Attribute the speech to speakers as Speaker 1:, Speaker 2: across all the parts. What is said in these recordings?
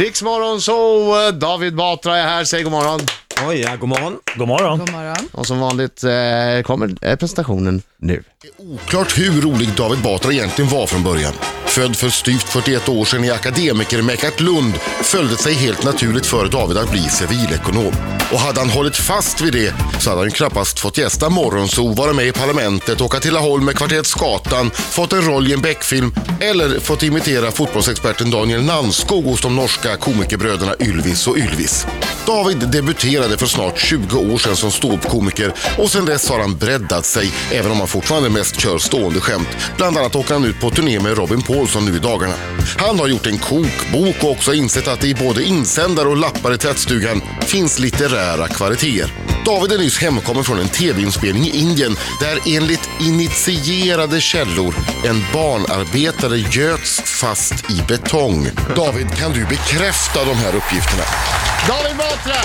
Speaker 1: Riksmorgon så eh, David Batra är här, säg god morgon.
Speaker 2: Oj, ja, god morgon.
Speaker 3: God morgon.
Speaker 4: God morgon.
Speaker 1: Och som vanligt eh, kommer eh, presentationen nu.
Speaker 5: Oklart hur rolig David Batra egentligen var från början. Född för styvt 41 år sedan i akademikermäckat Lund följde det sig helt naturligt för David att bli civilekonom. Och hade han hållit fast vid det så hade han ju knappast fått gästa Morgonzoo, vara med i Parlamentet, åka till Laholm med kvarteret Skatan, fått en roll i en Beck-film eller fått imitera fotbollsexperten Daniel Nanskog hos de norska komikerbröderna Ylvis och Ylvis. David debuterade för snart 20 år sedan som ståuppkomiker och sedan dess har han breddat sig även om han fortfarande mest kör stående skämt. Bland annat åker han ut på turné med Robin Paulsson nu i dagarna. Han har gjort en kokbok och också insett att det i både insändare och lappar i tvättstugan finns litterära kvaliteter. David är nyss hemkommen från en tv-inspelning i Indien där enligt initierade källor en barnarbetare göts fast i betong. David, kan du bekräfta de här uppgifterna?
Speaker 1: David Batra!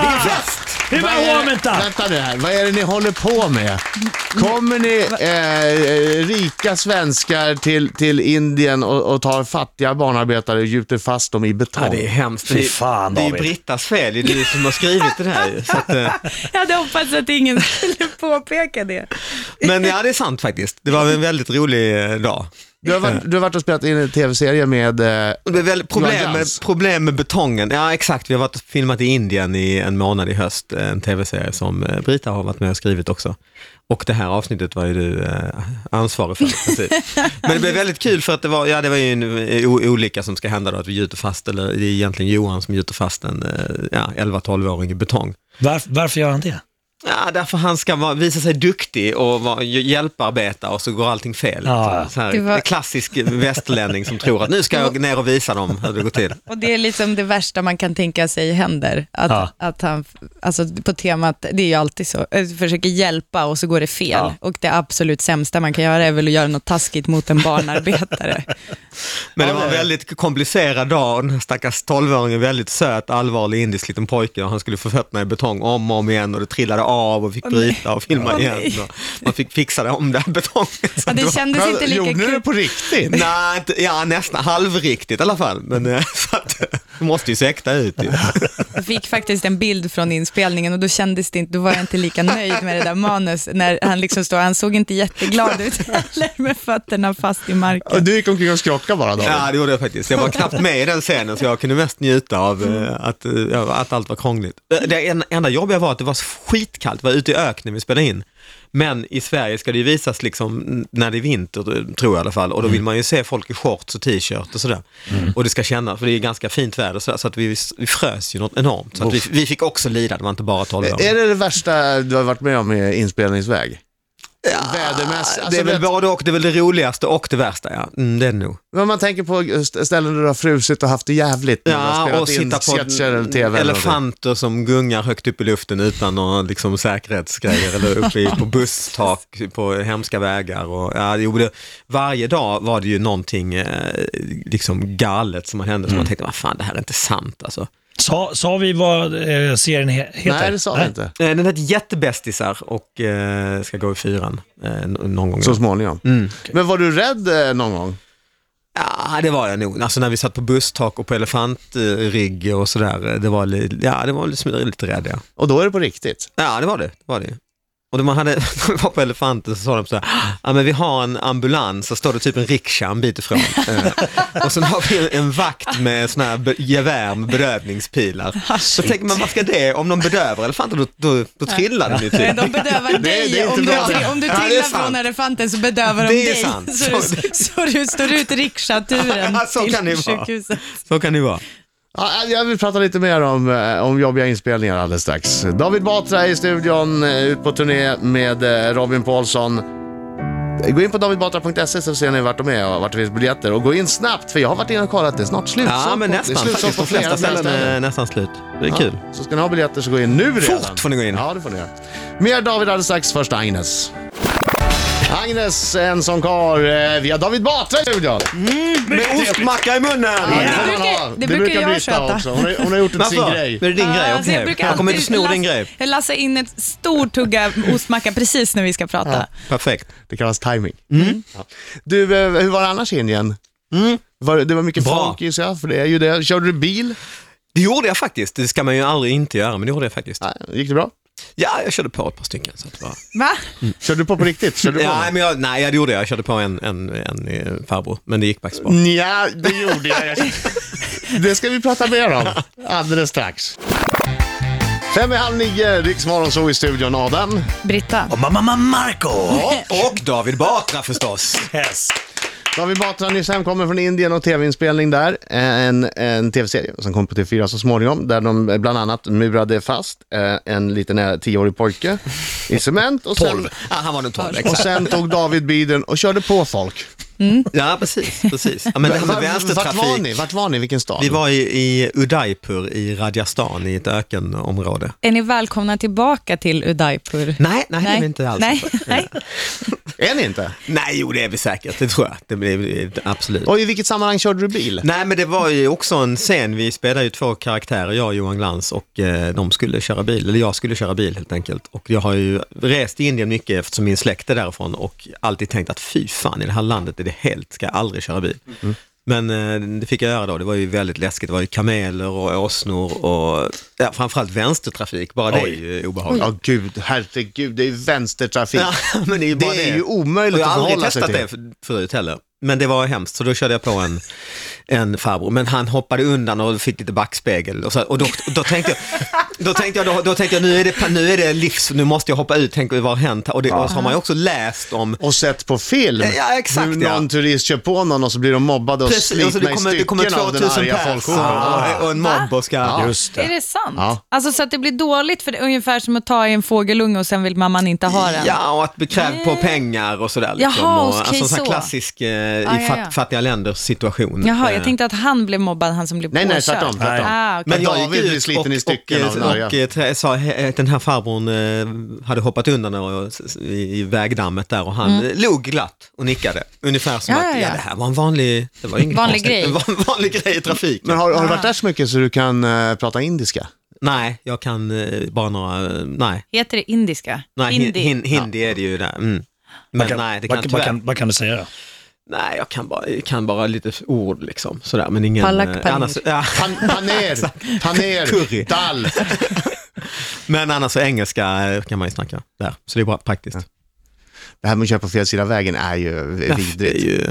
Speaker 2: Vilken fest!
Speaker 3: Hur
Speaker 1: Vad är
Speaker 3: var
Speaker 1: det-
Speaker 3: vänta?
Speaker 1: Vänta nu här, vad är det ni håller på med? Kommer ni eh, rika svenskar till, till Indien och, och tar fattiga barnarbetare och gjuter fast dem i betong?
Speaker 2: Ja, det är hemskt.
Speaker 3: Fy fan,
Speaker 2: det är ju
Speaker 3: David.
Speaker 2: Brittas fel, det är du som har skrivit det här ju. Så att, eh,
Speaker 4: Jag hade hoppats att ingen skulle påpeka det.
Speaker 2: Men ja, det är sant faktiskt. Det var en väldigt rolig eh, dag.
Speaker 1: Du, har varit, du har varit och spelat in en tv-serie med... Eh,
Speaker 2: Det är väl
Speaker 1: Johan
Speaker 2: problem, med,
Speaker 1: Glans.
Speaker 2: problem med betongen, ja exakt, vi har varit och filmat i Indien i en månad i höst, Eh, en tv-serie som eh, Brita har varit med och skrivit också. Och det här avsnittet var ju du eh, ansvarig för. i princip. Men det blev väldigt kul för att det var, ja, det var ju en eh, o- olycka som ska hända då, att vi gjuter fast, eller det är egentligen Johan som gjuter fast en eh, ja, 11-12-åring i betong.
Speaker 3: Varför, varför gör han det?
Speaker 2: Ja, därför han ska vara, visa sig duktig och vara, hjälparbeta och så går allting fel.
Speaker 3: Ja.
Speaker 2: Så här,
Speaker 4: Det var-
Speaker 2: en Klassisk västerlänning som tror att nu ska jag ner och visa dem hur det går till.
Speaker 4: Och det är liksom det värsta man kan tänka sig händer. Att,
Speaker 3: Ja.
Speaker 4: att han, alltså på temat, det är ju alltid så, eh, försöker hjälpa och så går det fel.
Speaker 3: Ja.
Speaker 4: Och det absolut sämsta man kan göra är väl att göra något taskigt mot en barnarbetare.
Speaker 2: Men det var en väldigt komplicerad dag och den här stackars 12-åringen, väldigt söt, allvarlig indisk liten pojke och han skulle få fötterna i betong om och om igen och det trillade av och fick bryta och filma
Speaker 4: Åh, nej.
Speaker 2: igen. Och man fick fixa det om den här betongen. Så
Speaker 4: Ja,
Speaker 2: det var-
Speaker 4: det kändes inte lika
Speaker 1: gjorde ni det
Speaker 4: kul.
Speaker 1: på riktigt?
Speaker 2: Nej, inte, ja, nästan halvriktigt i alla fall. Men eh, så att, det måste ju se äkta ut. Ju.
Speaker 4: Jag fick faktiskt en bild från inspelningen och då kändes det inte, då var jag inte lika nöjd med det där manus. När han liksom stod, han såg inte jätteglad ut heller med fötterna fast i marken.
Speaker 1: Och du gick omkring och skrockade bara David?
Speaker 2: Ja, det gjorde jag faktiskt. Jag var knappt med i den scenen så jag kunde mest njuta av
Speaker 1: Mm.
Speaker 2: eh, att, eh, ja, att allt var krångligt. Eh, Det en- enda jobbiga var att det var skitkallt, det var ute i öknen vi spelade in. Men i Sverige ska det ju visas liksom när det är vinter, tror jag i alla fall, och då vill
Speaker 1: Mm.
Speaker 2: man ju se folk i shorts och t-shirt och sådär. Och det ska kännas, för det är ganska fint väder så, så att vi, vi frös ju något enormt. Så att vi, vi fick också lida, det var inte bara 12 år.
Speaker 1: Är det det värsta du har varit med om i inspelningsväg? Ja, Vädermässigt?
Speaker 2: det
Speaker 1: Alltså,
Speaker 2: är väl
Speaker 1: vet-
Speaker 2: både och, det är väl det roligaste och det värsta ja. Mm, det är det nog.
Speaker 1: När man tänker på st- ställen där du har frusit och haft det jävligt. när du har
Speaker 2: Ja,
Speaker 1: spelat
Speaker 2: och
Speaker 1: in
Speaker 2: sitta på
Speaker 1: sketcher eller TV eller någonting.
Speaker 2: elefanter som gungar högt upp i luften utan några liksom, säkerhetsgrejer eller uppe i, på busstak på hemska vägar. Och, ja, jo, det, varje dag var det ju någonting eh, liksom galet som hände
Speaker 1: Mm.
Speaker 2: som man tänkte, vad fan det här är inte sant alltså.
Speaker 3: Sa, sa vi vad eh, serien he, heter?
Speaker 1: Nej, det sa vi inte.
Speaker 2: Eh, Den hette Jättebästisar och eh, ska gå i fyran eh, n- någon gång.
Speaker 1: Så småningom.
Speaker 2: Mm.
Speaker 1: Men var du rädd eh, någon gång?
Speaker 2: Ja, det var jag nog. Alltså när vi satt på busstak och på elefantrygg och sådär, eh, det var, li- ja, det var liksom lite rädd ja.
Speaker 1: Och då är det på riktigt.
Speaker 2: Ja, det var det. det, var det. ju. Och när man hade, när vi var på elefanten så sa de så här, ja men vi har en ambulans, så står det typ en rikscha en bit ifrån. Eh, och sen har vi en vakt med sådana här be- gevär med
Speaker 4: Ah,
Speaker 2: bedövningspilar. Så tänker man, vad ska det, om de bedövar elefanter då, då, då trillar den ju
Speaker 4: Nej,
Speaker 2: typ.
Speaker 4: de bedövar dig.
Speaker 1: det är inte
Speaker 4: om, du,
Speaker 1: bra.
Speaker 4: tri- om du
Speaker 2: Ja, det är
Speaker 4: trillar
Speaker 2: sant.
Speaker 4: från elefanten så bedövar de
Speaker 2: Det är
Speaker 4: dig.
Speaker 2: sant.
Speaker 4: Så, du, så du står ut riksaturen
Speaker 2: Ja, så
Speaker 4: till
Speaker 2: kan det vara.
Speaker 4: sjukhuset.
Speaker 2: Så kan det ju vara.
Speaker 1: Ja, eh, jag vill prata lite mer om, eh, om jobbiga inspelningar alldeles strax. David Batra i studion, eh, ut på turné med eh, Robin Paulsson. Gå in på davidbatra.se så ser ni vart de är och vart det finns biljetter. Och gå in snabbt, för jag har varit inne och kollat, det är snart slutsålt.
Speaker 2: Ja men
Speaker 1: på-
Speaker 2: nästan
Speaker 1: det är slutsålt
Speaker 2: faktiskt,
Speaker 1: på
Speaker 2: de
Speaker 1: flera
Speaker 2: flesta ställen
Speaker 1: ställen.
Speaker 2: är nästan slut. Det är kul.
Speaker 1: Så ska ni ha biljetter så gå in nu redan.
Speaker 2: Fort får ni gå in.
Speaker 1: Ja, det får ni göra. Mer David alldeles strax, först Agnes. Agnes, en som kar. eh, Vi har David Batra i studion.
Speaker 2: Med ostmacka i munnen!
Speaker 1: får man
Speaker 4: brukar-
Speaker 1: ha.
Speaker 4: det brukar jag
Speaker 1: Britta
Speaker 4: sköta.
Speaker 1: också. Hon, har- hon har gjort det till sin
Speaker 2: Varför?
Speaker 1: grej.
Speaker 2: Det är din grej,
Speaker 4: Ja, så jag
Speaker 2: okej.
Speaker 4: brukar
Speaker 2: Jag kommer inte
Speaker 4: alltid
Speaker 2: sno din
Speaker 4: lassa-
Speaker 2: grej.
Speaker 4: Jag lassar in en stor tugga ostmacka precis när vi ska prata.
Speaker 2: Perfekt. Mm.
Speaker 1: Det kallas timing. Ja. Du, eh, hur var det annars i Indien? Var, det var mycket
Speaker 2: Bra.
Speaker 1: folk gissar jag, för det är ju det. Körde du bil?
Speaker 2: Det gjorde jag faktiskt, det ska man ju aldrig inte göra, men det gjorde jag faktiskt.
Speaker 1: Nej, gick det bra?
Speaker 2: Ja, jag körde på ett par stycken. Så att det var...
Speaker 4: Va?
Speaker 1: Körde du på på riktigt? Körde du på
Speaker 2: ja,
Speaker 1: honom?
Speaker 2: men jag, nej, jag gjorde det. Jag körde på en, en, en eh, farbror, men det gick faktiskt bra.
Speaker 1: Nja, det gjorde jag. Det ska vi prata mer om alldeles strax. Fem i halv nio, Riksmorgon så i studion. Adam.
Speaker 4: Britta?
Speaker 3: Och mamma, mamma Marco!
Speaker 2: Och David Batra förstås.
Speaker 3: Yes.
Speaker 1: David Batra nyss hemkommen från Indien och tv-inspelning där. Eh, En, en tv-serie som kom på TV4 så småningom, där de eh, bland annat murade fast eh, en liten eh, tioårig pojke i cement. Och sen,
Speaker 2: Tolv. Ja, han var den tolv,
Speaker 1: och
Speaker 2: exakt.
Speaker 1: sen tog David bilen och körde på folk.
Speaker 2: Ja, precis. precis. Ja, men det här med
Speaker 1: Vart- vart var
Speaker 2: vänstertrafik.
Speaker 1: ni? Vart var ni? Vilken stad?
Speaker 2: Vi var i, i Udaipur i Rajasthan i ett ökenområde.
Speaker 4: Är ni välkomna tillbaka till Udaipur?
Speaker 2: Nej, nej, det är vi inte alls.
Speaker 4: Nej. Nej.
Speaker 1: Är ni inte?
Speaker 2: Nej, jo det är vi säkert, det tror jag. Det blir- det blir, absolut.
Speaker 1: Och i vilket sammanhang körde du bil?
Speaker 2: Nej, men det var ju också en scen, vi spelade ju två karaktärer, jag och Johan Glans och eh, de skulle köra bil, eller jag skulle köra bil helt enkelt. Och jag har ju rest i Indien mycket eftersom min släkt är därifrån och alltid tänkt att fy fan, i det här landet är det helt, ska jag aldrig köra bil. Men eh, det fick jag göra då, det var ju väldigt läskigt, det var ju kameler och åsnor och ja, framförallt vänstertrafik, bara det är ju obehagligt.
Speaker 1: Ja, gud, herregud, det är ju vänstertrafik.
Speaker 2: Ja, men det är ju, bara
Speaker 1: Det är ju omöjligt
Speaker 2: och jag
Speaker 1: att
Speaker 2: har aldrig
Speaker 1: förhålla sig
Speaker 2: testat
Speaker 1: till.
Speaker 2: det för- förut heller. Men det var hemskt, så då körde jag på en, en farbror. Men han hoppade undan och fick lite backspegel. Och, så, och då, då tänkte jag, då tänkte jag, då, då tänkte jag nu, är det, pa- nu är det livs, nu måste jag hoppa ut, tänk vad har hänt? här? Och, det, och så har man ju också läst om
Speaker 1: Och sett på film
Speaker 2: Ja, exakt,
Speaker 1: hur
Speaker 2: ja.
Speaker 1: någon turist kör på någon och så blir de mobbade och
Speaker 2: Precis,
Speaker 1: slitna
Speaker 2: alltså det kommer,
Speaker 1: i
Speaker 2: det kommer
Speaker 1: stycken av den
Speaker 2: 2000
Speaker 1: arga
Speaker 2: pers
Speaker 1: folkhopen. Ja.
Speaker 2: och, och en mobb och ska...
Speaker 3: Just
Speaker 4: Är
Speaker 3: det.
Speaker 4: det sant?
Speaker 1: Ja.
Speaker 4: Alltså så att det blir dåligt för det är ungefär som att ta i en fågelunge och sen vill mamman inte ha den.
Speaker 2: Ja, och att bli krävd på pengar och sådär. Liksom.
Speaker 4: Jaha,
Speaker 2: och,
Speaker 4: okej,
Speaker 2: alltså en sån här
Speaker 4: så.
Speaker 2: klassisk eh, i
Speaker 4: ja,
Speaker 2: fat,
Speaker 4: ja.
Speaker 2: fattiga länders situation.
Speaker 4: Jaha,
Speaker 2: Eh,
Speaker 4: jag tänkte att han blev mobbad, han som blev
Speaker 1: Nej, nej,
Speaker 4: påkörd.
Speaker 1: tvärtom, tvärtom.
Speaker 4: Ah, okej.
Speaker 1: Men David
Speaker 2: gick
Speaker 1: blir
Speaker 2: ut
Speaker 1: sliten i stycken
Speaker 2: och,
Speaker 1: av den
Speaker 2: och,
Speaker 1: arga.
Speaker 2: och, eh, trä- sa he- att den här farbrorn eh, hade hoppat undan och, i, i vägdammet där och han eh, log glatt och nickade. Ungefär som
Speaker 4: Mm. Ja,
Speaker 2: att
Speaker 4: ja,
Speaker 2: ja,
Speaker 4: ja.
Speaker 2: det här var en vanlig, det var inget
Speaker 4: Vanlig
Speaker 2: konstigt.
Speaker 4: grej. Mm.
Speaker 2: En van, vanlig grej i trafiken.
Speaker 1: Men har, har du varit där så mycket så du kan eh, prata indiska?
Speaker 2: nej, jag kan eh, bara några, eh, nej,
Speaker 4: Heter det indiska?
Speaker 2: nej
Speaker 4: Hindi.
Speaker 2: hindi, hin, hindi är det ju där. Mm. Men
Speaker 3: Vad kan-
Speaker 2: nej, det kan
Speaker 3: vad,
Speaker 2: jag
Speaker 3: vad,
Speaker 2: tyvärr.
Speaker 3: kan, vad kan du säga då?
Speaker 2: Nej, jag kan bara, jag kan bara lite ord liksom, sådär, men ingen...
Speaker 4: Palak
Speaker 2: eh,
Speaker 4: paneer.
Speaker 2: annars, ja,
Speaker 1: Pan, paner, paner,
Speaker 2: Curry.
Speaker 1: dal.
Speaker 2: men annars så engelska eh, kan man ju snacka där, så det är bara praktiskt.
Speaker 1: Det här med att köra på fel sida av vägen är ju
Speaker 2: Det är
Speaker 1: vidrigt.
Speaker 2: ju,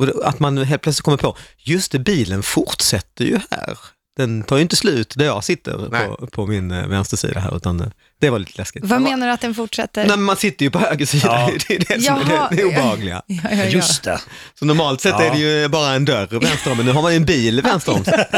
Speaker 2: och det- att man helt plötsligt kommer på, just det, bilen fortsätter ju här. Den tar ju inte slut där jag sitter
Speaker 1: Nej.
Speaker 2: på, på min eh, vänstersida här, utan eh, det var lite läskigt.
Speaker 4: Vad menar du att den fortsätter?
Speaker 2: Nej, men man sitter ju på höger sida,
Speaker 3: Ja.
Speaker 2: det är det som är det,
Speaker 4: Jaha.
Speaker 2: det är obehagliga.
Speaker 4: Ja, ja, ja.
Speaker 3: Just det.
Speaker 2: Så normalt sett
Speaker 3: Ja.
Speaker 2: är det ju bara en dörr vänster om, men nu har man ju en bil vänster om sig.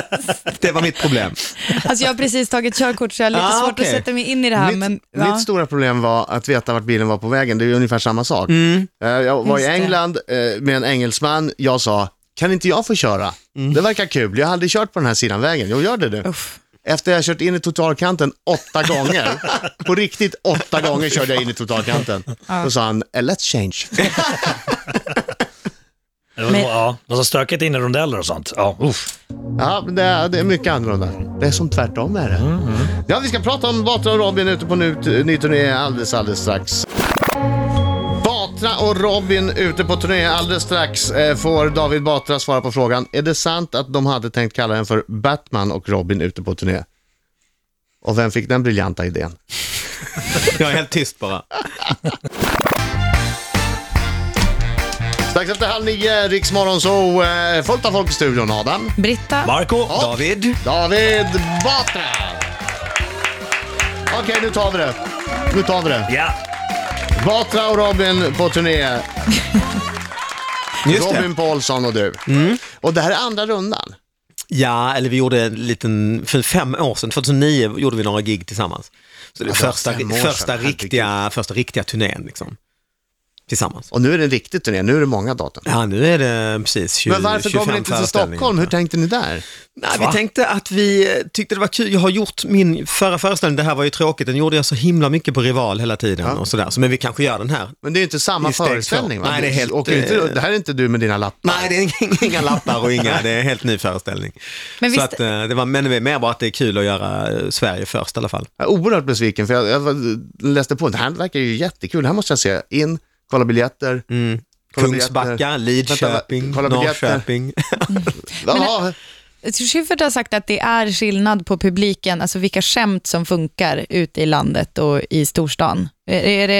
Speaker 2: Det var mitt problem.
Speaker 4: Alltså jag har precis tagit körkort så jag har lite
Speaker 2: Ah,
Speaker 4: svårt
Speaker 2: okej.
Speaker 4: att sätta mig in i det här.
Speaker 1: mitt,
Speaker 4: men, ja.
Speaker 1: mitt stora problem var att veta vart bilen var på vägen. Det är ju ungefär samma sak. Eh, Jag var
Speaker 4: Mm. Just
Speaker 1: i
Speaker 4: det.
Speaker 1: England eh, med en engelsman. Jag sa, kan inte jag få köra? Det verkar kul. Jag hade kört på den här sidan vägen. Jag gör det nu.
Speaker 4: Mm. Uff.
Speaker 1: Efter jag kört in i totalkanten åtta gånger, på riktigt åtta gånger körde jag in i totalkanten. Då sa han, "Eh, let's change.
Speaker 3: Det var,
Speaker 4: Men-
Speaker 3: ja, det var så stökigt in i rondeller och sånt. Ja, uff.
Speaker 1: Ja, men det är, det är mycket annorlunda. Det är som tvärtom är det. Ja, vi ska prata om Batra och Robin ute på ny, ny turné alldeles, alldeles strax. Batra och Robin ute på turné alldeles strax eh, får David Batra svara på frågan. Är det sant att de hade tänkt kalla den för Batman och Robin ute på turné? Och vem fick den briljanta idén?
Speaker 2: Jag är helt tyst bara.
Speaker 1: Strax efter halv nio, Riksmorgon så eh, fullt av folk i studion. Adam,
Speaker 4: Britta,
Speaker 3: Marco,
Speaker 2: David?
Speaker 1: David Batra! Okej, nu tar vi det. Nu tar vi det.
Speaker 3: Ja,
Speaker 1: Batra och Robin på turné.
Speaker 2: Just det. Mm.
Speaker 1: Robin Paulsson och du. Och det här är andra rundan.
Speaker 2: Ja, eller vi gjorde en liten, för fem år sedan, 2009 gjorde vi några gig tillsammans. Så det är
Speaker 1: Alltså,
Speaker 2: första,
Speaker 1: fem år sedan,
Speaker 2: första,
Speaker 1: herregud.
Speaker 2: riktiga, första riktiga turnén liksom. Tillsammans.
Speaker 1: Och nu är det en riktig turné, nu är det många datum.
Speaker 2: Ja, nu är det precis 20,
Speaker 1: Men varför
Speaker 2: 25
Speaker 1: kommer ni inte till
Speaker 2: föreställningar.
Speaker 1: Stockholm? Hur tänkte ni där?
Speaker 2: Nej, vi tänkte att vi eh, tyckte det var kul. Jag har gjort min förra föreställning, det här var ju tråkigt, den gjorde jag så himla mycket på Rival hela tiden och sådär. Så, men vi kanske gör den här.
Speaker 1: Men det är ju inte samma
Speaker 2: I steg två.
Speaker 1: föreställning va?
Speaker 2: Nej, det är helt,
Speaker 1: Åker inte,
Speaker 2: eh,
Speaker 1: det här är inte du med dina lappar.
Speaker 2: Nej, det är inga, inga lappar och inga, det är en helt ny föreställning.
Speaker 4: Men
Speaker 2: så
Speaker 4: visst-
Speaker 2: att, eh, det var, men det är mer bara att det är kul att göra eh, Sverige först i alla fall.
Speaker 1: Jag är oerhört besviken för jag, jag var- läste på, det här verkar ju jättekul, det här måste jag se. In, kolla biljetter, Kolla
Speaker 2: Mm. Kungsbacka,
Speaker 1: biljetter.
Speaker 2: Lidköping,
Speaker 1: Vänta, kolla eh, biljetter.
Speaker 2: Norrköping.
Speaker 1: Jaha,
Speaker 4: Schyffert har sagt att det är skillnad på publiken, alltså vilka skämt som funkar ute i landet och i storstan. Är, är, det, är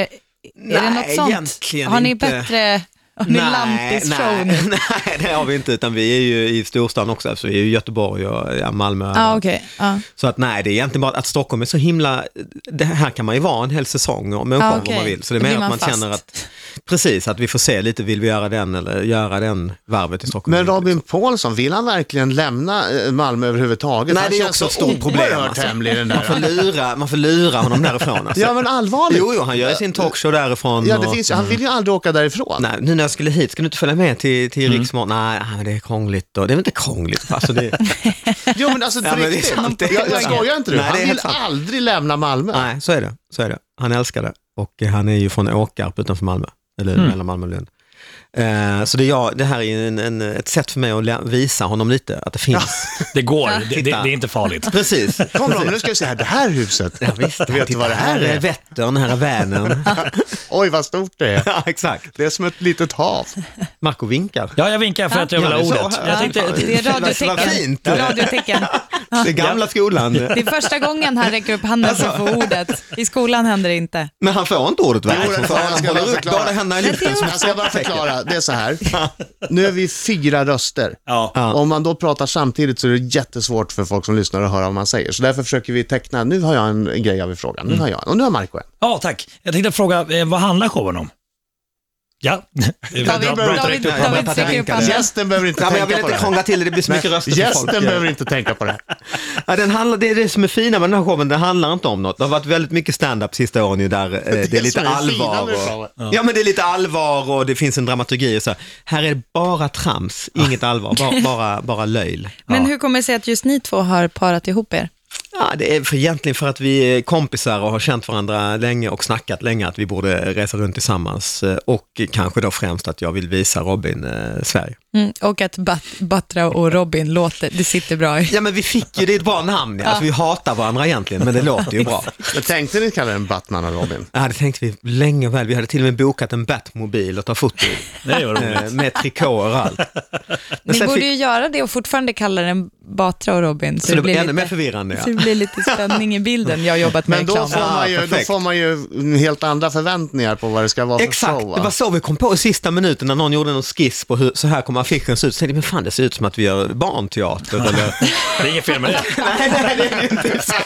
Speaker 4: det
Speaker 2: Nej,
Speaker 4: något sånt?
Speaker 2: egentligen
Speaker 4: Har ni
Speaker 2: inte.
Speaker 4: bättre, har ni
Speaker 2: nej,
Speaker 4: lampisshow nu?
Speaker 2: nej, det har vi inte, utan vi är ju i storstan också, så vi är ju i Göteborg och ja, Malmö.
Speaker 4: Ja, Ah, okej. Ja.
Speaker 2: Så att nej, det är egentligen bara att Stockholm är så himla, det här kan man ju vara en hel säsong och människor
Speaker 4: Ja,
Speaker 2: om
Speaker 4: Ah, okej.
Speaker 2: man vill. Så det är
Speaker 4: Då
Speaker 2: mer
Speaker 4: blir
Speaker 2: att man
Speaker 4: man fast.
Speaker 2: känner att, precis, att vi får se lite, vill vi göra den eller göra den varvet i Stockholm?
Speaker 1: Men Robin Paulsson, vill han verkligen lämna eh, Malmö överhuvudtaget?
Speaker 2: Nej,
Speaker 1: han
Speaker 2: det är
Speaker 1: känns
Speaker 2: också ett
Speaker 1: så
Speaker 2: stort problem,
Speaker 1: oerhört
Speaker 2: alltså.
Speaker 1: hemlig den
Speaker 2: Man får
Speaker 1: där.
Speaker 2: lura, man får lura honom därifrån. Alltså.
Speaker 1: Ja men allvarligt.
Speaker 2: Jo, jo, han gör sin talkshow därifrån.
Speaker 1: Ja, det
Speaker 2: och-
Speaker 1: finns, ju- han vill ju aldrig åka därifrån.
Speaker 2: Nej, nu när jag skulle hit, ska du inte följa med till, till Riksmorgon? Nej, ah, men det är krångligt. Och, det är väl inte krångligt? Alltså det,
Speaker 1: Jo men alltså på
Speaker 2: Ja, men det är
Speaker 1: riktigt,
Speaker 2: sant.
Speaker 1: jag, jag skojar inte nu.
Speaker 2: Nej,
Speaker 1: Han
Speaker 2: det är
Speaker 1: vill
Speaker 2: helt sant.
Speaker 1: aldrig lämna Malmö.
Speaker 2: nej, så är det. Så är det. Han älskar det. Och eh, han är ju från Åkarp utanför Malmö, eller mellan Malmö och Lund. Eh, så det, är jag, det här är ju en, en, ett sätt för mig att lä- visa honom lite att det finns.
Speaker 3: Det går, det, det, det
Speaker 2: Titta.
Speaker 3: är inte farligt.
Speaker 2: Precis.
Speaker 1: Kom Robin, nu ska vi se här, det här huset.
Speaker 2: Ja, visst.
Speaker 1: Vet du
Speaker 2: Titta,
Speaker 1: vad det här
Speaker 2: är
Speaker 1: är?
Speaker 2: Vättern, här är Vänern.
Speaker 1: Oj vad stort det är.
Speaker 2: ja, exakt.
Speaker 1: Det är som ett litet hav.
Speaker 2: Marco vinkar.
Speaker 3: Ja, jag vinkar för att jag
Speaker 2: Ja,
Speaker 3: vill ha
Speaker 2: det är så
Speaker 3: ordet.
Speaker 2: här.
Speaker 3: Jag
Speaker 4: Ja,
Speaker 3: tänkte,
Speaker 4: det är
Speaker 2: Vad
Speaker 4: radiotecken.
Speaker 2: fint.
Speaker 4: radiotecken.
Speaker 2: Den gamla skolan.
Speaker 4: Det är första gången han räcker upp handen för att få
Speaker 2: Alltså.
Speaker 4: ordet. I skolan händer det inte.
Speaker 2: Men han får inte ordet va?
Speaker 1: Jo, det får
Speaker 2: han
Speaker 1: han. Jag ska bara
Speaker 2: håller upp
Speaker 1: förklara.
Speaker 2: båda händerna i luften. som
Speaker 1: Alltså, Jag ska bara förklara, det är så här. Nu är vi fyra röster.
Speaker 3: ja.
Speaker 2: Ja.
Speaker 1: Om man då pratar samtidigt så är det jättesvårt för folk som lyssnar att höra vad man säger. Så därför försöker vi teckna, nu har jag en en grej jag vill fråga,
Speaker 2: Mm.
Speaker 1: nu har jag en, och nu har Marco en.
Speaker 3: ja, tack. Jag tänkte fråga, eh, vad handlar showen om? Ja, det var
Speaker 4: David,
Speaker 3: bra- bra
Speaker 4: David,
Speaker 3: direkt upp.
Speaker 2: Jag bara
Speaker 4: David sticker upp
Speaker 2: vinkade.
Speaker 4: handen.
Speaker 1: Gästen behöver inte
Speaker 2: Ja, men jag
Speaker 1: tänka
Speaker 2: vill
Speaker 1: på det här.
Speaker 2: inte krångla till det, det blir så mycket röster som folk
Speaker 1: Gästen
Speaker 2: gör.
Speaker 1: behöver inte tänka på det här.
Speaker 2: ja, den handlar, Det är det som är fina med den här showen, den handlar inte om något. Det har varit väldigt mycket stand-up sista åren ju där eh, det är,
Speaker 1: Det är
Speaker 2: lite
Speaker 1: som är det fina
Speaker 2: allvar.
Speaker 1: med showen.
Speaker 2: Och, ja. men det är lite allvar och det finns en dramaturgi och så. Här, här är det bara trams, inget allvar, bara, bara, bara löjl.
Speaker 4: Men hur kommer det sig att just ni två har parat ihop er?
Speaker 2: Ja, det är för egentligen för att vi är kompisar och har känt varandra länge och snackat länge att vi borde resa runt tillsammans eh, och kanske då främst att jag vill visa Robin eh, Sverige.
Speaker 4: Mm, och att Bat- Batra och Robin låter, det sitter bra i.
Speaker 2: Ja men vi fick ju, det är ett bra namn, ja. alltså, vi hatar varandra egentligen men det låter ju bra.
Speaker 1: Men tänkte ni kalla den Batman och Robin?
Speaker 2: Ja, det tänkte vi länge och väl. Vi hade till och med bokat en Batmobil att ta foto i,
Speaker 3: det var roligt.
Speaker 2: eh, med trikåer och allt. Men
Speaker 4: Ni
Speaker 2: sen
Speaker 4: borde
Speaker 2: fick-
Speaker 4: ju göra det och fortfarande kalla den Batra och Robin. Så,
Speaker 2: så det blev
Speaker 4: blir
Speaker 2: ännu
Speaker 4: lite,
Speaker 2: mer förvirrande.
Speaker 4: så det
Speaker 2: Ja.
Speaker 4: blir lite spänning i bilden. Jag har jobbat med
Speaker 1: Men då
Speaker 4: reklam.
Speaker 1: får,
Speaker 2: Ah,
Speaker 1: man ju, då
Speaker 2: perfekt.
Speaker 1: får man ju helt andra förväntningar på vad det ska vara för
Speaker 2: Exakt,
Speaker 1: show.
Speaker 2: det var
Speaker 1: Va?
Speaker 2: så vi kom på i sista minuten när någon gjorde någon skiss på hur, så här kommer affischen se ut. Så tänkte jag, men fan det ser ut som att vi gör barnteater eller...
Speaker 3: Det är inget fel med det.
Speaker 2: nej, nej, det är det inte. i sig.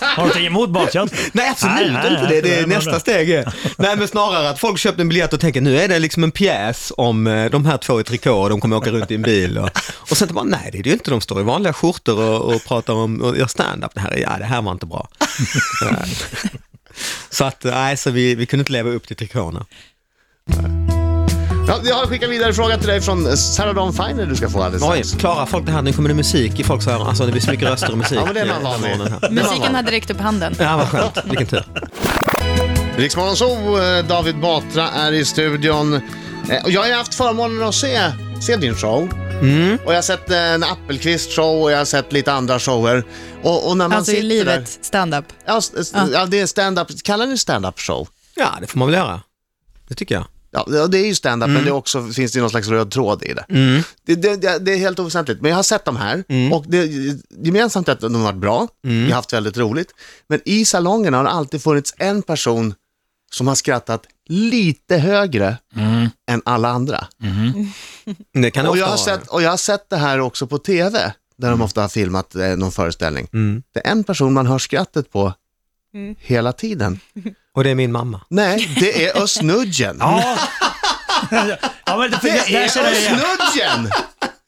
Speaker 3: Har du inte emot bakkänsla?
Speaker 2: Nej, absolut
Speaker 3: Nej, nej,
Speaker 2: inte det. Det
Speaker 3: nej,
Speaker 2: är
Speaker 3: men-
Speaker 2: nästa steg. är- Nej, men snarare att folk köpte en biljett och tänker nu är det liksom en pjäs om eh, de här två i trikåer, de kommer åka runt i en bil. Och, och sen bara, nej det är det ju inte, de står i vanliga skjortor och, och pratar om, och gör stand-up. Det här, är- ja, det här var inte bra. Nej. så att, nej, så vi, vi kunde inte leva upp till trikåerna.
Speaker 1: Ja, jag har skickat vidare en fråga till dig från Sarah Dawn Finer du ska få alldeles
Speaker 2: Oj,
Speaker 1: strax.
Speaker 2: klarar folk det här? Nu kommer det musik i folks öron. Alltså det blir så mycket röster och musik.
Speaker 1: Ja, men det är
Speaker 2: eh,
Speaker 1: man van
Speaker 2: den
Speaker 1: vid.
Speaker 2: här morgonen här.
Speaker 4: Musiken hade räckt upp handen.
Speaker 2: Ja, vad skönt. Vilken tur.
Speaker 1: Riksmorgon Zoo, eh, David Batra är i studion. Eh, och Jag har ju haft förmånen att se, se din show.
Speaker 2: Mm.
Speaker 1: Och jag har sett eh, en Appelqvist show och jag har sett lite andra shower. Och, och när man
Speaker 4: Alltså i
Speaker 1: sitter Där,
Speaker 4: livet, stand-up.
Speaker 1: ja, s- s- ja, det är stand-up. Kallar ni stand-up show?
Speaker 2: Ja, det får man väl göra. Det tycker jag.
Speaker 1: Ja, det- det är ju stand-up,
Speaker 3: Mm.
Speaker 1: men det är också, finns det ju någon slags röd tråd i det. Det, det, det. det är helt oväsentligt, men jag har sett de här
Speaker 3: Mm.
Speaker 1: och det, gemensamt är att de har varit bra, vi har haft väldigt roligt, men i salongerna har det alltid funnits en person som har skrattat lite högre
Speaker 3: Mm.
Speaker 1: än alla andra.
Speaker 2: Det kan det
Speaker 1: Och
Speaker 2: ofta
Speaker 1: jag, har
Speaker 2: vara.
Speaker 1: sett, och jag har sett det här också på tv, där
Speaker 3: Mm.
Speaker 1: de ofta har filmat eh, någon föreställning. Det är en person man hör skrattet på hela tiden.
Speaker 2: Och det är min mamma.
Speaker 1: Nej, det är Özz Nudgen.
Speaker 3: Ja. ja, men det, det, det,
Speaker 1: Det är
Speaker 3: jag
Speaker 1: Özz
Speaker 3: känner jag igen.
Speaker 1: Nudgen!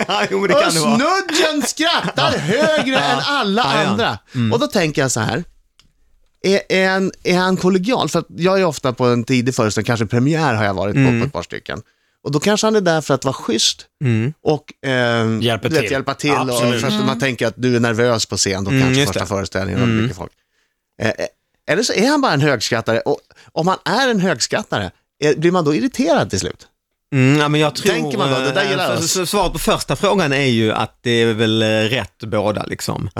Speaker 2: Ja, jo, men det kan det vara.
Speaker 1: Snudgen skrattar högre än alla
Speaker 2: Ja, Mm. ja.
Speaker 1: andra. Och då tänker jag så här. Är, är, han, är han kollegial? För att jag är ofta på en tidig föreställning, kanske premiär har jag varit på,
Speaker 2: Mm.
Speaker 1: på ett par stycken. Och då kanske han är där för att vara schysst
Speaker 2: Mm.
Speaker 1: och eh,
Speaker 3: Hjälper
Speaker 1: du vet,
Speaker 3: till.
Speaker 1: hjälpa till. Och
Speaker 3: Absolut.
Speaker 1: för att man tänker att du är nervös på scen, då kanske
Speaker 2: Mm, just
Speaker 1: första
Speaker 2: det. Mm.
Speaker 1: föreställningen och det är mycket folk. Eh, eh, eller eh, så är han bara en högskattare. Och om han är en högskattare, är, blir man då irriterad till slut?
Speaker 2: Mm, ja, men jag tror,
Speaker 1: Tänker man då? Det där
Speaker 2: eh,
Speaker 1: gillar
Speaker 2: så-
Speaker 1: jag.
Speaker 2: så Svaret på första frågan är ju att det är väl eh, rätt båda liksom.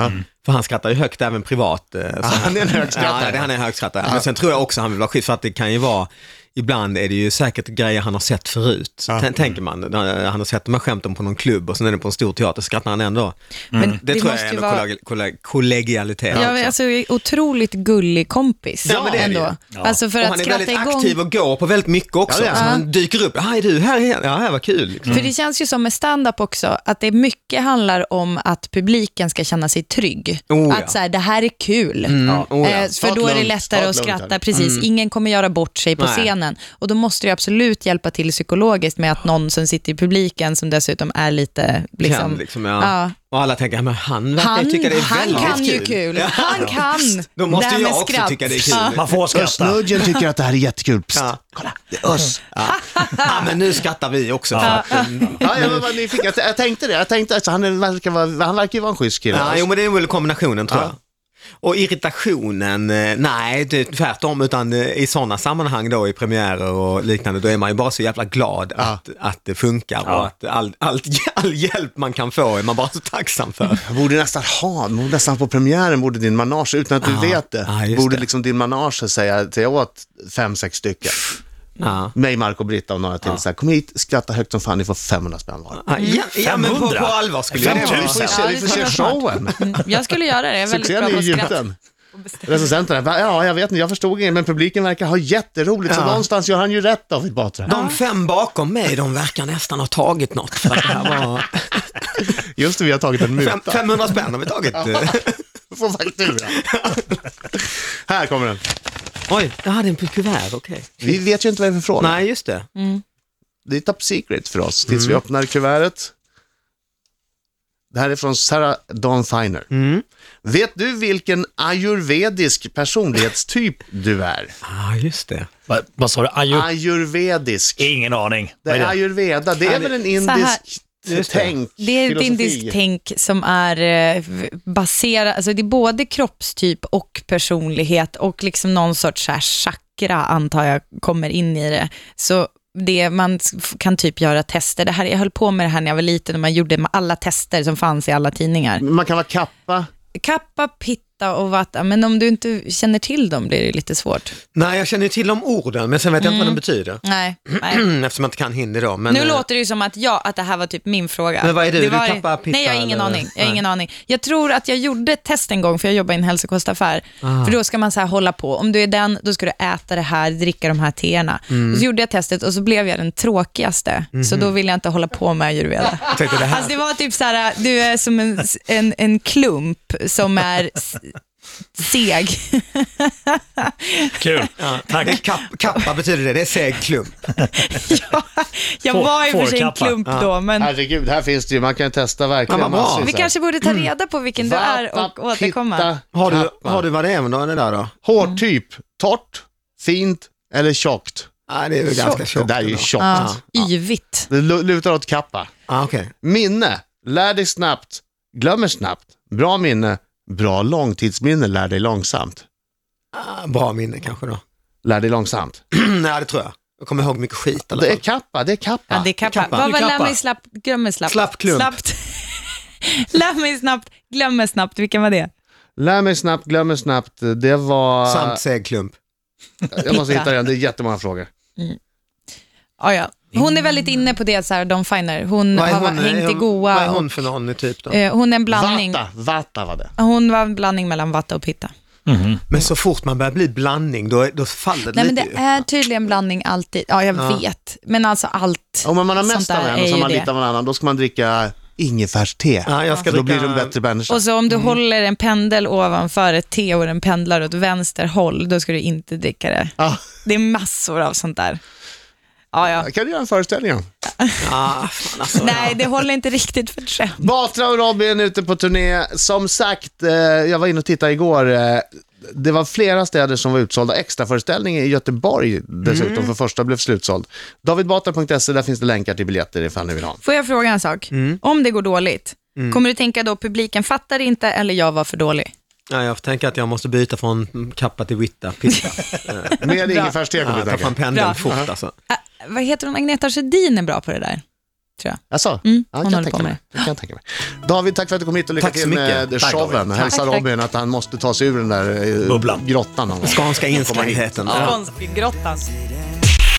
Speaker 2: För han skrattar ju högt även privat. eh, så-
Speaker 1: Han är en högskrattare.
Speaker 2: Ja, det- han är en högskrattare. Men sen tror jag också han vill vara schysst för att det kan ju vara, ibland är det ju säkert grejer han har sett förut. Tän- Tänker man, eh, han har sett de här skämten på någon klubb och sen är det på en stor teater, så skrattar han ändå.
Speaker 4: Men
Speaker 2: Mm. Det, tror jag är ändå kolleg- kolleg- kollegialitet.
Speaker 4: Ja,
Speaker 2: också.
Speaker 4: men alltså otroligt gullig kompis.
Speaker 2: Ja, men det är det ju.
Speaker 4: ändå. Alltså för
Speaker 2: och
Speaker 4: att
Speaker 2: han är väldigt
Speaker 4: skratta igång.
Speaker 2: aktiv och går på väldigt mycket också.
Speaker 1: Ja, det är
Speaker 2: så han dyker upp, ah, är du här igen? Ja, här var kul. Liksom.
Speaker 4: För det känns ju som med stand-up också, att det mycket handlar om att publiken ska känna sig trygg.
Speaker 2: Oh, ja.
Speaker 4: Att så här, det här är kul.
Speaker 2: Ja, oh ja.
Speaker 4: Eh, För då är det
Speaker 1: lugnt,
Speaker 4: lättare
Speaker 1: ta
Speaker 4: att
Speaker 1: det lugnt här.
Speaker 4: skratta, precis. Ingen kommer göra bort sig på
Speaker 2: Mm. Nej.
Speaker 4: scenen. Och då måste det absolut hjälpa till psykologiskt med att någon som sitter i publiken, som dessutom är lite... Liksom,
Speaker 2: kan, liksom, ja.
Speaker 4: ja.
Speaker 2: Och alla tänker, ja, men han verkar
Speaker 4: Han,
Speaker 2: ju tycka det är
Speaker 4: han
Speaker 2: väldigt
Speaker 4: kan
Speaker 2: kul.
Speaker 4: ju kul. Han kan.
Speaker 2: Då måste
Speaker 4: Det här
Speaker 2: ju jag
Speaker 4: med
Speaker 2: också tycka det är kul.
Speaker 4: Ja.
Speaker 3: Man får skratta.
Speaker 1: Nudgen tycker att det här är jättekul. Psst,
Speaker 2: Ja.
Speaker 1: kolla, det är oss.
Speaker 2: Ja, men nu skrattar vi också. För att, mm.
Speaker 1: Ja, jag var nyfiken. Jag- Jag tänkte det. Jag tänkte att han är- verkar vara, han verkar ju vara en schysst kille.
Speaker 2: ja, jo, men det är väl kombinationen tror
Speaker 1: Ja.
Speaker 2: jag. Och irritationen, eh, nej det är tvärtom, utan eh, i sådana sammanhang då i premiärer och liknande, då är man ju bara så jävla glad att, att det funkar och
Speaker 3: Ja.
Speaker 2: att all, all, all hjälp man kan få är man bara så tacksam för.
Speaker 1: Jag borde nästan ha, borde nästan på premiären borde din manage, utan att du vet det,
Speaker 2: ja, just
Speaker 1: borde
Speaker 2: det.
Speaker 1: liksom din manage säga, säga åt fem, sex stycken.
Speaker 2: Ja.
Speaker 1: Mig, Marco, Britta och några till. Så här, kom hit, skratta högt som fan, ni får 500 spänn var.
Speaker 2: Ja,
Speaker 4: Mm.
Speaker 2: ja, ja, men på,
Speaker 3: 500.
Speaker 2: på allvar skulle jag
Speaker 1: Vi får se,
Speaker 4: Ja,
Speaker 1: vi
Speaker 4: det
Speaker 1: får se
Speaker 4: tror jag snart.
Speaker 1: showen.
Speaker 4: Mm, Jag skulle göra det. Jag är väldigt
Speaker 1: Succén
Speaker 4: bra
Speaker 1: är
Speaker 4: på
Speaker 1: ju
Speaker 4: att skratta.
Speaker 1: gjuten. Recensenterna, va, ja jag vet inte, jag förstod inget, men publiken verkar ha jätteroligt, så
Speaker 2: Ja.
Speaker 1: någonstans gör han ju rätt David Batra.
Speaker 2: De fem bakom mig, de verkar nästan ha tagit något. För att det här var...
Speaker 1: Just det, vi har tagit en
Speaker 2: Fem,
Speaker 1: muta.
Speaker 2: 500 spänn har vi tagit.
Speaker 1: På faktura. Här kommer den.
Speaker 2: Oj, jag hade en på kuvert, okej.
Speaker 1: Vi vet ju inte vad det är för fråga.
Speaker 2: Nej, just det.
Speaker 1: Det är top secret för oss
Speaker 2: Mm.
Speaker 1: tills vi öppnar kuvertet. Det här är från Sarah Dawn Finer.
Speaker 2: Mm.
Speaker 1: Vet du vilken ayurvedisk personlighetstyp du är?
Speaker 2: Ah, just det.
Speaker 3: Vad- Vad sa du? Ayu?
Speaker 1: Ayurvedisk.
Speaker 3: Ingen aning.
Speaker 1: Det
Speaker 3: Vad är
Speaker 1: är
Speaker 3: det?
Speaker 1: ayurveda, det är väl en
Speaker 4: Så här-
Speaker 1: indisk
Speaker 2: Just det.
Speaker 1: tänk.
Speaker 4: Det är ett
Speaker 1: filosofi.
Speaker 4: indiskt tänk som är eh, baserat, alltså det är både kroppstyp och personlighet och liksom någon sorts så här chakra antar jag kommer in i det. Så det, man f- kan typ göra tester. Det här, jag höll på med det här när jag var liten och man gjorde med alla tester som fanns i alla tidningar.
Speaker 1: Man kan vara kappa.
Speaker 4: Kappa, pitta och vata, men om du inte känner till dem blir det lite svårt.
Speaker 2: Nej, jag känner ju till de orden, men sen vet jag inte vad de betyder. Mm,
Speaker 4: Nej, nej.
Speaker 2: Eftersom jag inte kan hindi då. Men,
Speaker 4: Nu
Speaker 2: eh,
Speaker 4: låter det ju som att, jag, att det här var typ min fråga.
Speaker 2: Men vad är du?
Speaker 4: Det
Speaker 2: Du tappar pitta
Speaker 4: Nej, jag har ingen
Speaker 2: eller-
Speaker 4: aning. Jag har ingen aning. Jag tror att jag gjorde ett test en gång, för jag jobbar i en hälsokostaffär. För då ska man så här hålla på. Om du är den, då ska du äta det här, dricka de här teerna. Och så gjorde jag testet och så blev jag den tråkigaste. Så då ville jag inte hålla på med ayurveda.
Speaker 2: tänkte det här-
Speaker 4: Alltså det var typ så här, du är som en, en, en klump som är s- seg.
Speaker 3: Kul.
Speaker 2: det är
Speaker 3: Tack.
Speaker 2: Kapp, kappa betyder det, det är seg klump.
Speaker 4: jag jag
Speaker 3: Får-
Speaker 4: var i och för sig en
Speaker 3: fårkappa.
Speaker 4: klump då, men
Speaker 1: Herregud, här finns det ju, man kan ju testa verkligen.
Speaker 2: Ja, vad bra.
Speaker 1: massvis
Speaker 4: vi
Speaker 1: här.
Speaker 4: kanske borde ta reda på vilken du är
Speaker 1: Vata,
Speaker 4: och återkomma.
Speaker 1: pitta,
Speaker 2: Har du,
Speaker 1: kappa. Mm.
Speaker 2: har du vad det är med det där då?
Speaker 1: Hårtyp, torrt, fint eller tjockt?
Speaker 2: Ah, det är ju ganska
Speaker 1: det
Speaker 2: tjockt.
Speaker 1: där är ju
Speaker 2: ändå.
Speaker 1: tjockt.
Speaker 4: Ja, yvigt.
Speaker 1: Det lu- lutar åt kappa.
Speaker 2: Ah, okej.
Speaker 1: Minne, lär dig snabbt, glömmer snabbt. Bra minne, bra långtidsminne, lär dig långsamt.
Speaker 2: ah, bra minne kanske då.
Speaker 1: Lär dig långsamt.
Speaker 2: Nej, det tror jag. Jag kommer ihåg mycket skit. i alla
Speaker 1: Det är
Speaker 2: fall.
Speaker 1: kappa, det är kappa.
Speaker 4: Ja, det är kappa.
Speaker 2: kappa.
Speaker 4: Vad var
Speaker 3: Kappa.
Speaker 4: lär mig slappt, glömmer slappt?
Speaker 2: Slapp klump.
Speaker 4: Slappt. lär mig snabbt, glömmer snabbt. Vilken var det?
Speaker 1: Lär mig snabbt, glömmer snabbt. Det var...
Speaker 2: Samt seg klump.
Speaker 1: jag måste
Speaker 4: Pitta.
Speaker 1: hitta den, det är jättemånga frågor.
Speaker 4: Ja, ja. Hon är väldigt inne på det, så här, Don Finer. Hon
Speaker 2: Vad är
Speaker 4: har
Speaker 2: hon- är
Speaker 4: hängt i
Speaker 2: hon- Vad är
Speaker 4: Goa.
Speaker 2: hon för någon typ då?
Speaker 4: och, eh, hon är en blandning.
Speaker 1: Vata, vata var det.
Speaker 4: Hon var en blandning mellan vatta och pitta.
Speaker 2: Men så fort man börjar bli blandning, då, då faller det
Speaker 4: Nej, men
Speaker 2: lite
Speaker 4: det
Speaker 2: ju.
Speaker 4: är tydligen blandning alltid. Ja, jag vet. Men alltså allt.
Speaker 1: Om man har
Speaker 4: sånt
Speaker 1: mest
Speaker 4: där
Speaker 1: av en
Speaker 4: är
Speaker 1: och så
Speaker 4: ju
Speaker 1: man
Speaker 4: det.
Speaker 1: lite av en annan, då ska man dricka ingefärste.
Speaker 2: Ja, jag ska
Speaker 1: Alltså, Då
Speaker 2: dricka-
Speaker 1: blir du en bättre människa.
Speaker 4: Och så om du håller en pendel ovanför ett te och den pendlar åt vänster håll, då ska du inte dricka det.
Speaker 1: Ja,
Speaker 4: Det är massor av sånt där. Ja, ja.
Speaker 1: kan du göra en föreställning om?
Speaker 2: Ah, fan alltså.
Speaker 4: Nej, det håller inte riktigt för ett skämt.
Speaker 1: Batra och Robin ute på turné. Som sagt, eh, jag var inne och tittade igår. Eh, det var flera städer som var utsålda. Extraföreställning i Göteborg dessutom,
Speaker 4: Mm.
Speaker 1: för första blev slutsåld. Davidbatra.se, där finns det länkar till biljetter ifall ni vill ha.
Speaker 4: Får jag fråga en sak? Om det går dåligt, kommer du tänka då publiken fattar inte eller jag var för dålig?
Speaker 2: Ja, jag tänker att jag måste byta från kappa till vitta, pitta.
Speaker 1: Med ingefärste kommer
Speaker 2: Ja,
Speaker 1: vi
Speaker 2: ta
Speaker 1: tänka.
Speaker 2: fram pendeln
Speaker 4: Bra.
Speaker 2: fort alltså.
Speaker 4: Ä- Äh, vad heter hon, Agneta Sjödin är bra på det där.
Speaker 1: Jaså?
Speaker 4: Mm,
Speaker 1: Ja,
Speaker 4: hon
Speaker 1: kan jag
Speaker 4: håller
Speaker 1: tänka
Speaker 4: på med
Speaker 1: mig. Det kan jag tänka mig. David, tack för att du kom hit och lycka
Speaker 2: Tack så
Speaker 1: till
Speaker 2: mycket.
Speaker 1: med
Speaker 2: Tack,
Speaker 1: showen.
Speaker 2: David.
Speaker 1: Hälsa
Speaker 4: Tack, tack.
Speaker 1: Robin att han måste ta sig ur den där eh,
Speaker 3: Bubblan.
Speaker 1: grottan. Han var.
Speaker 2: Skånska inskränktheten. Ja.
Speaker 4: Konstgrottan.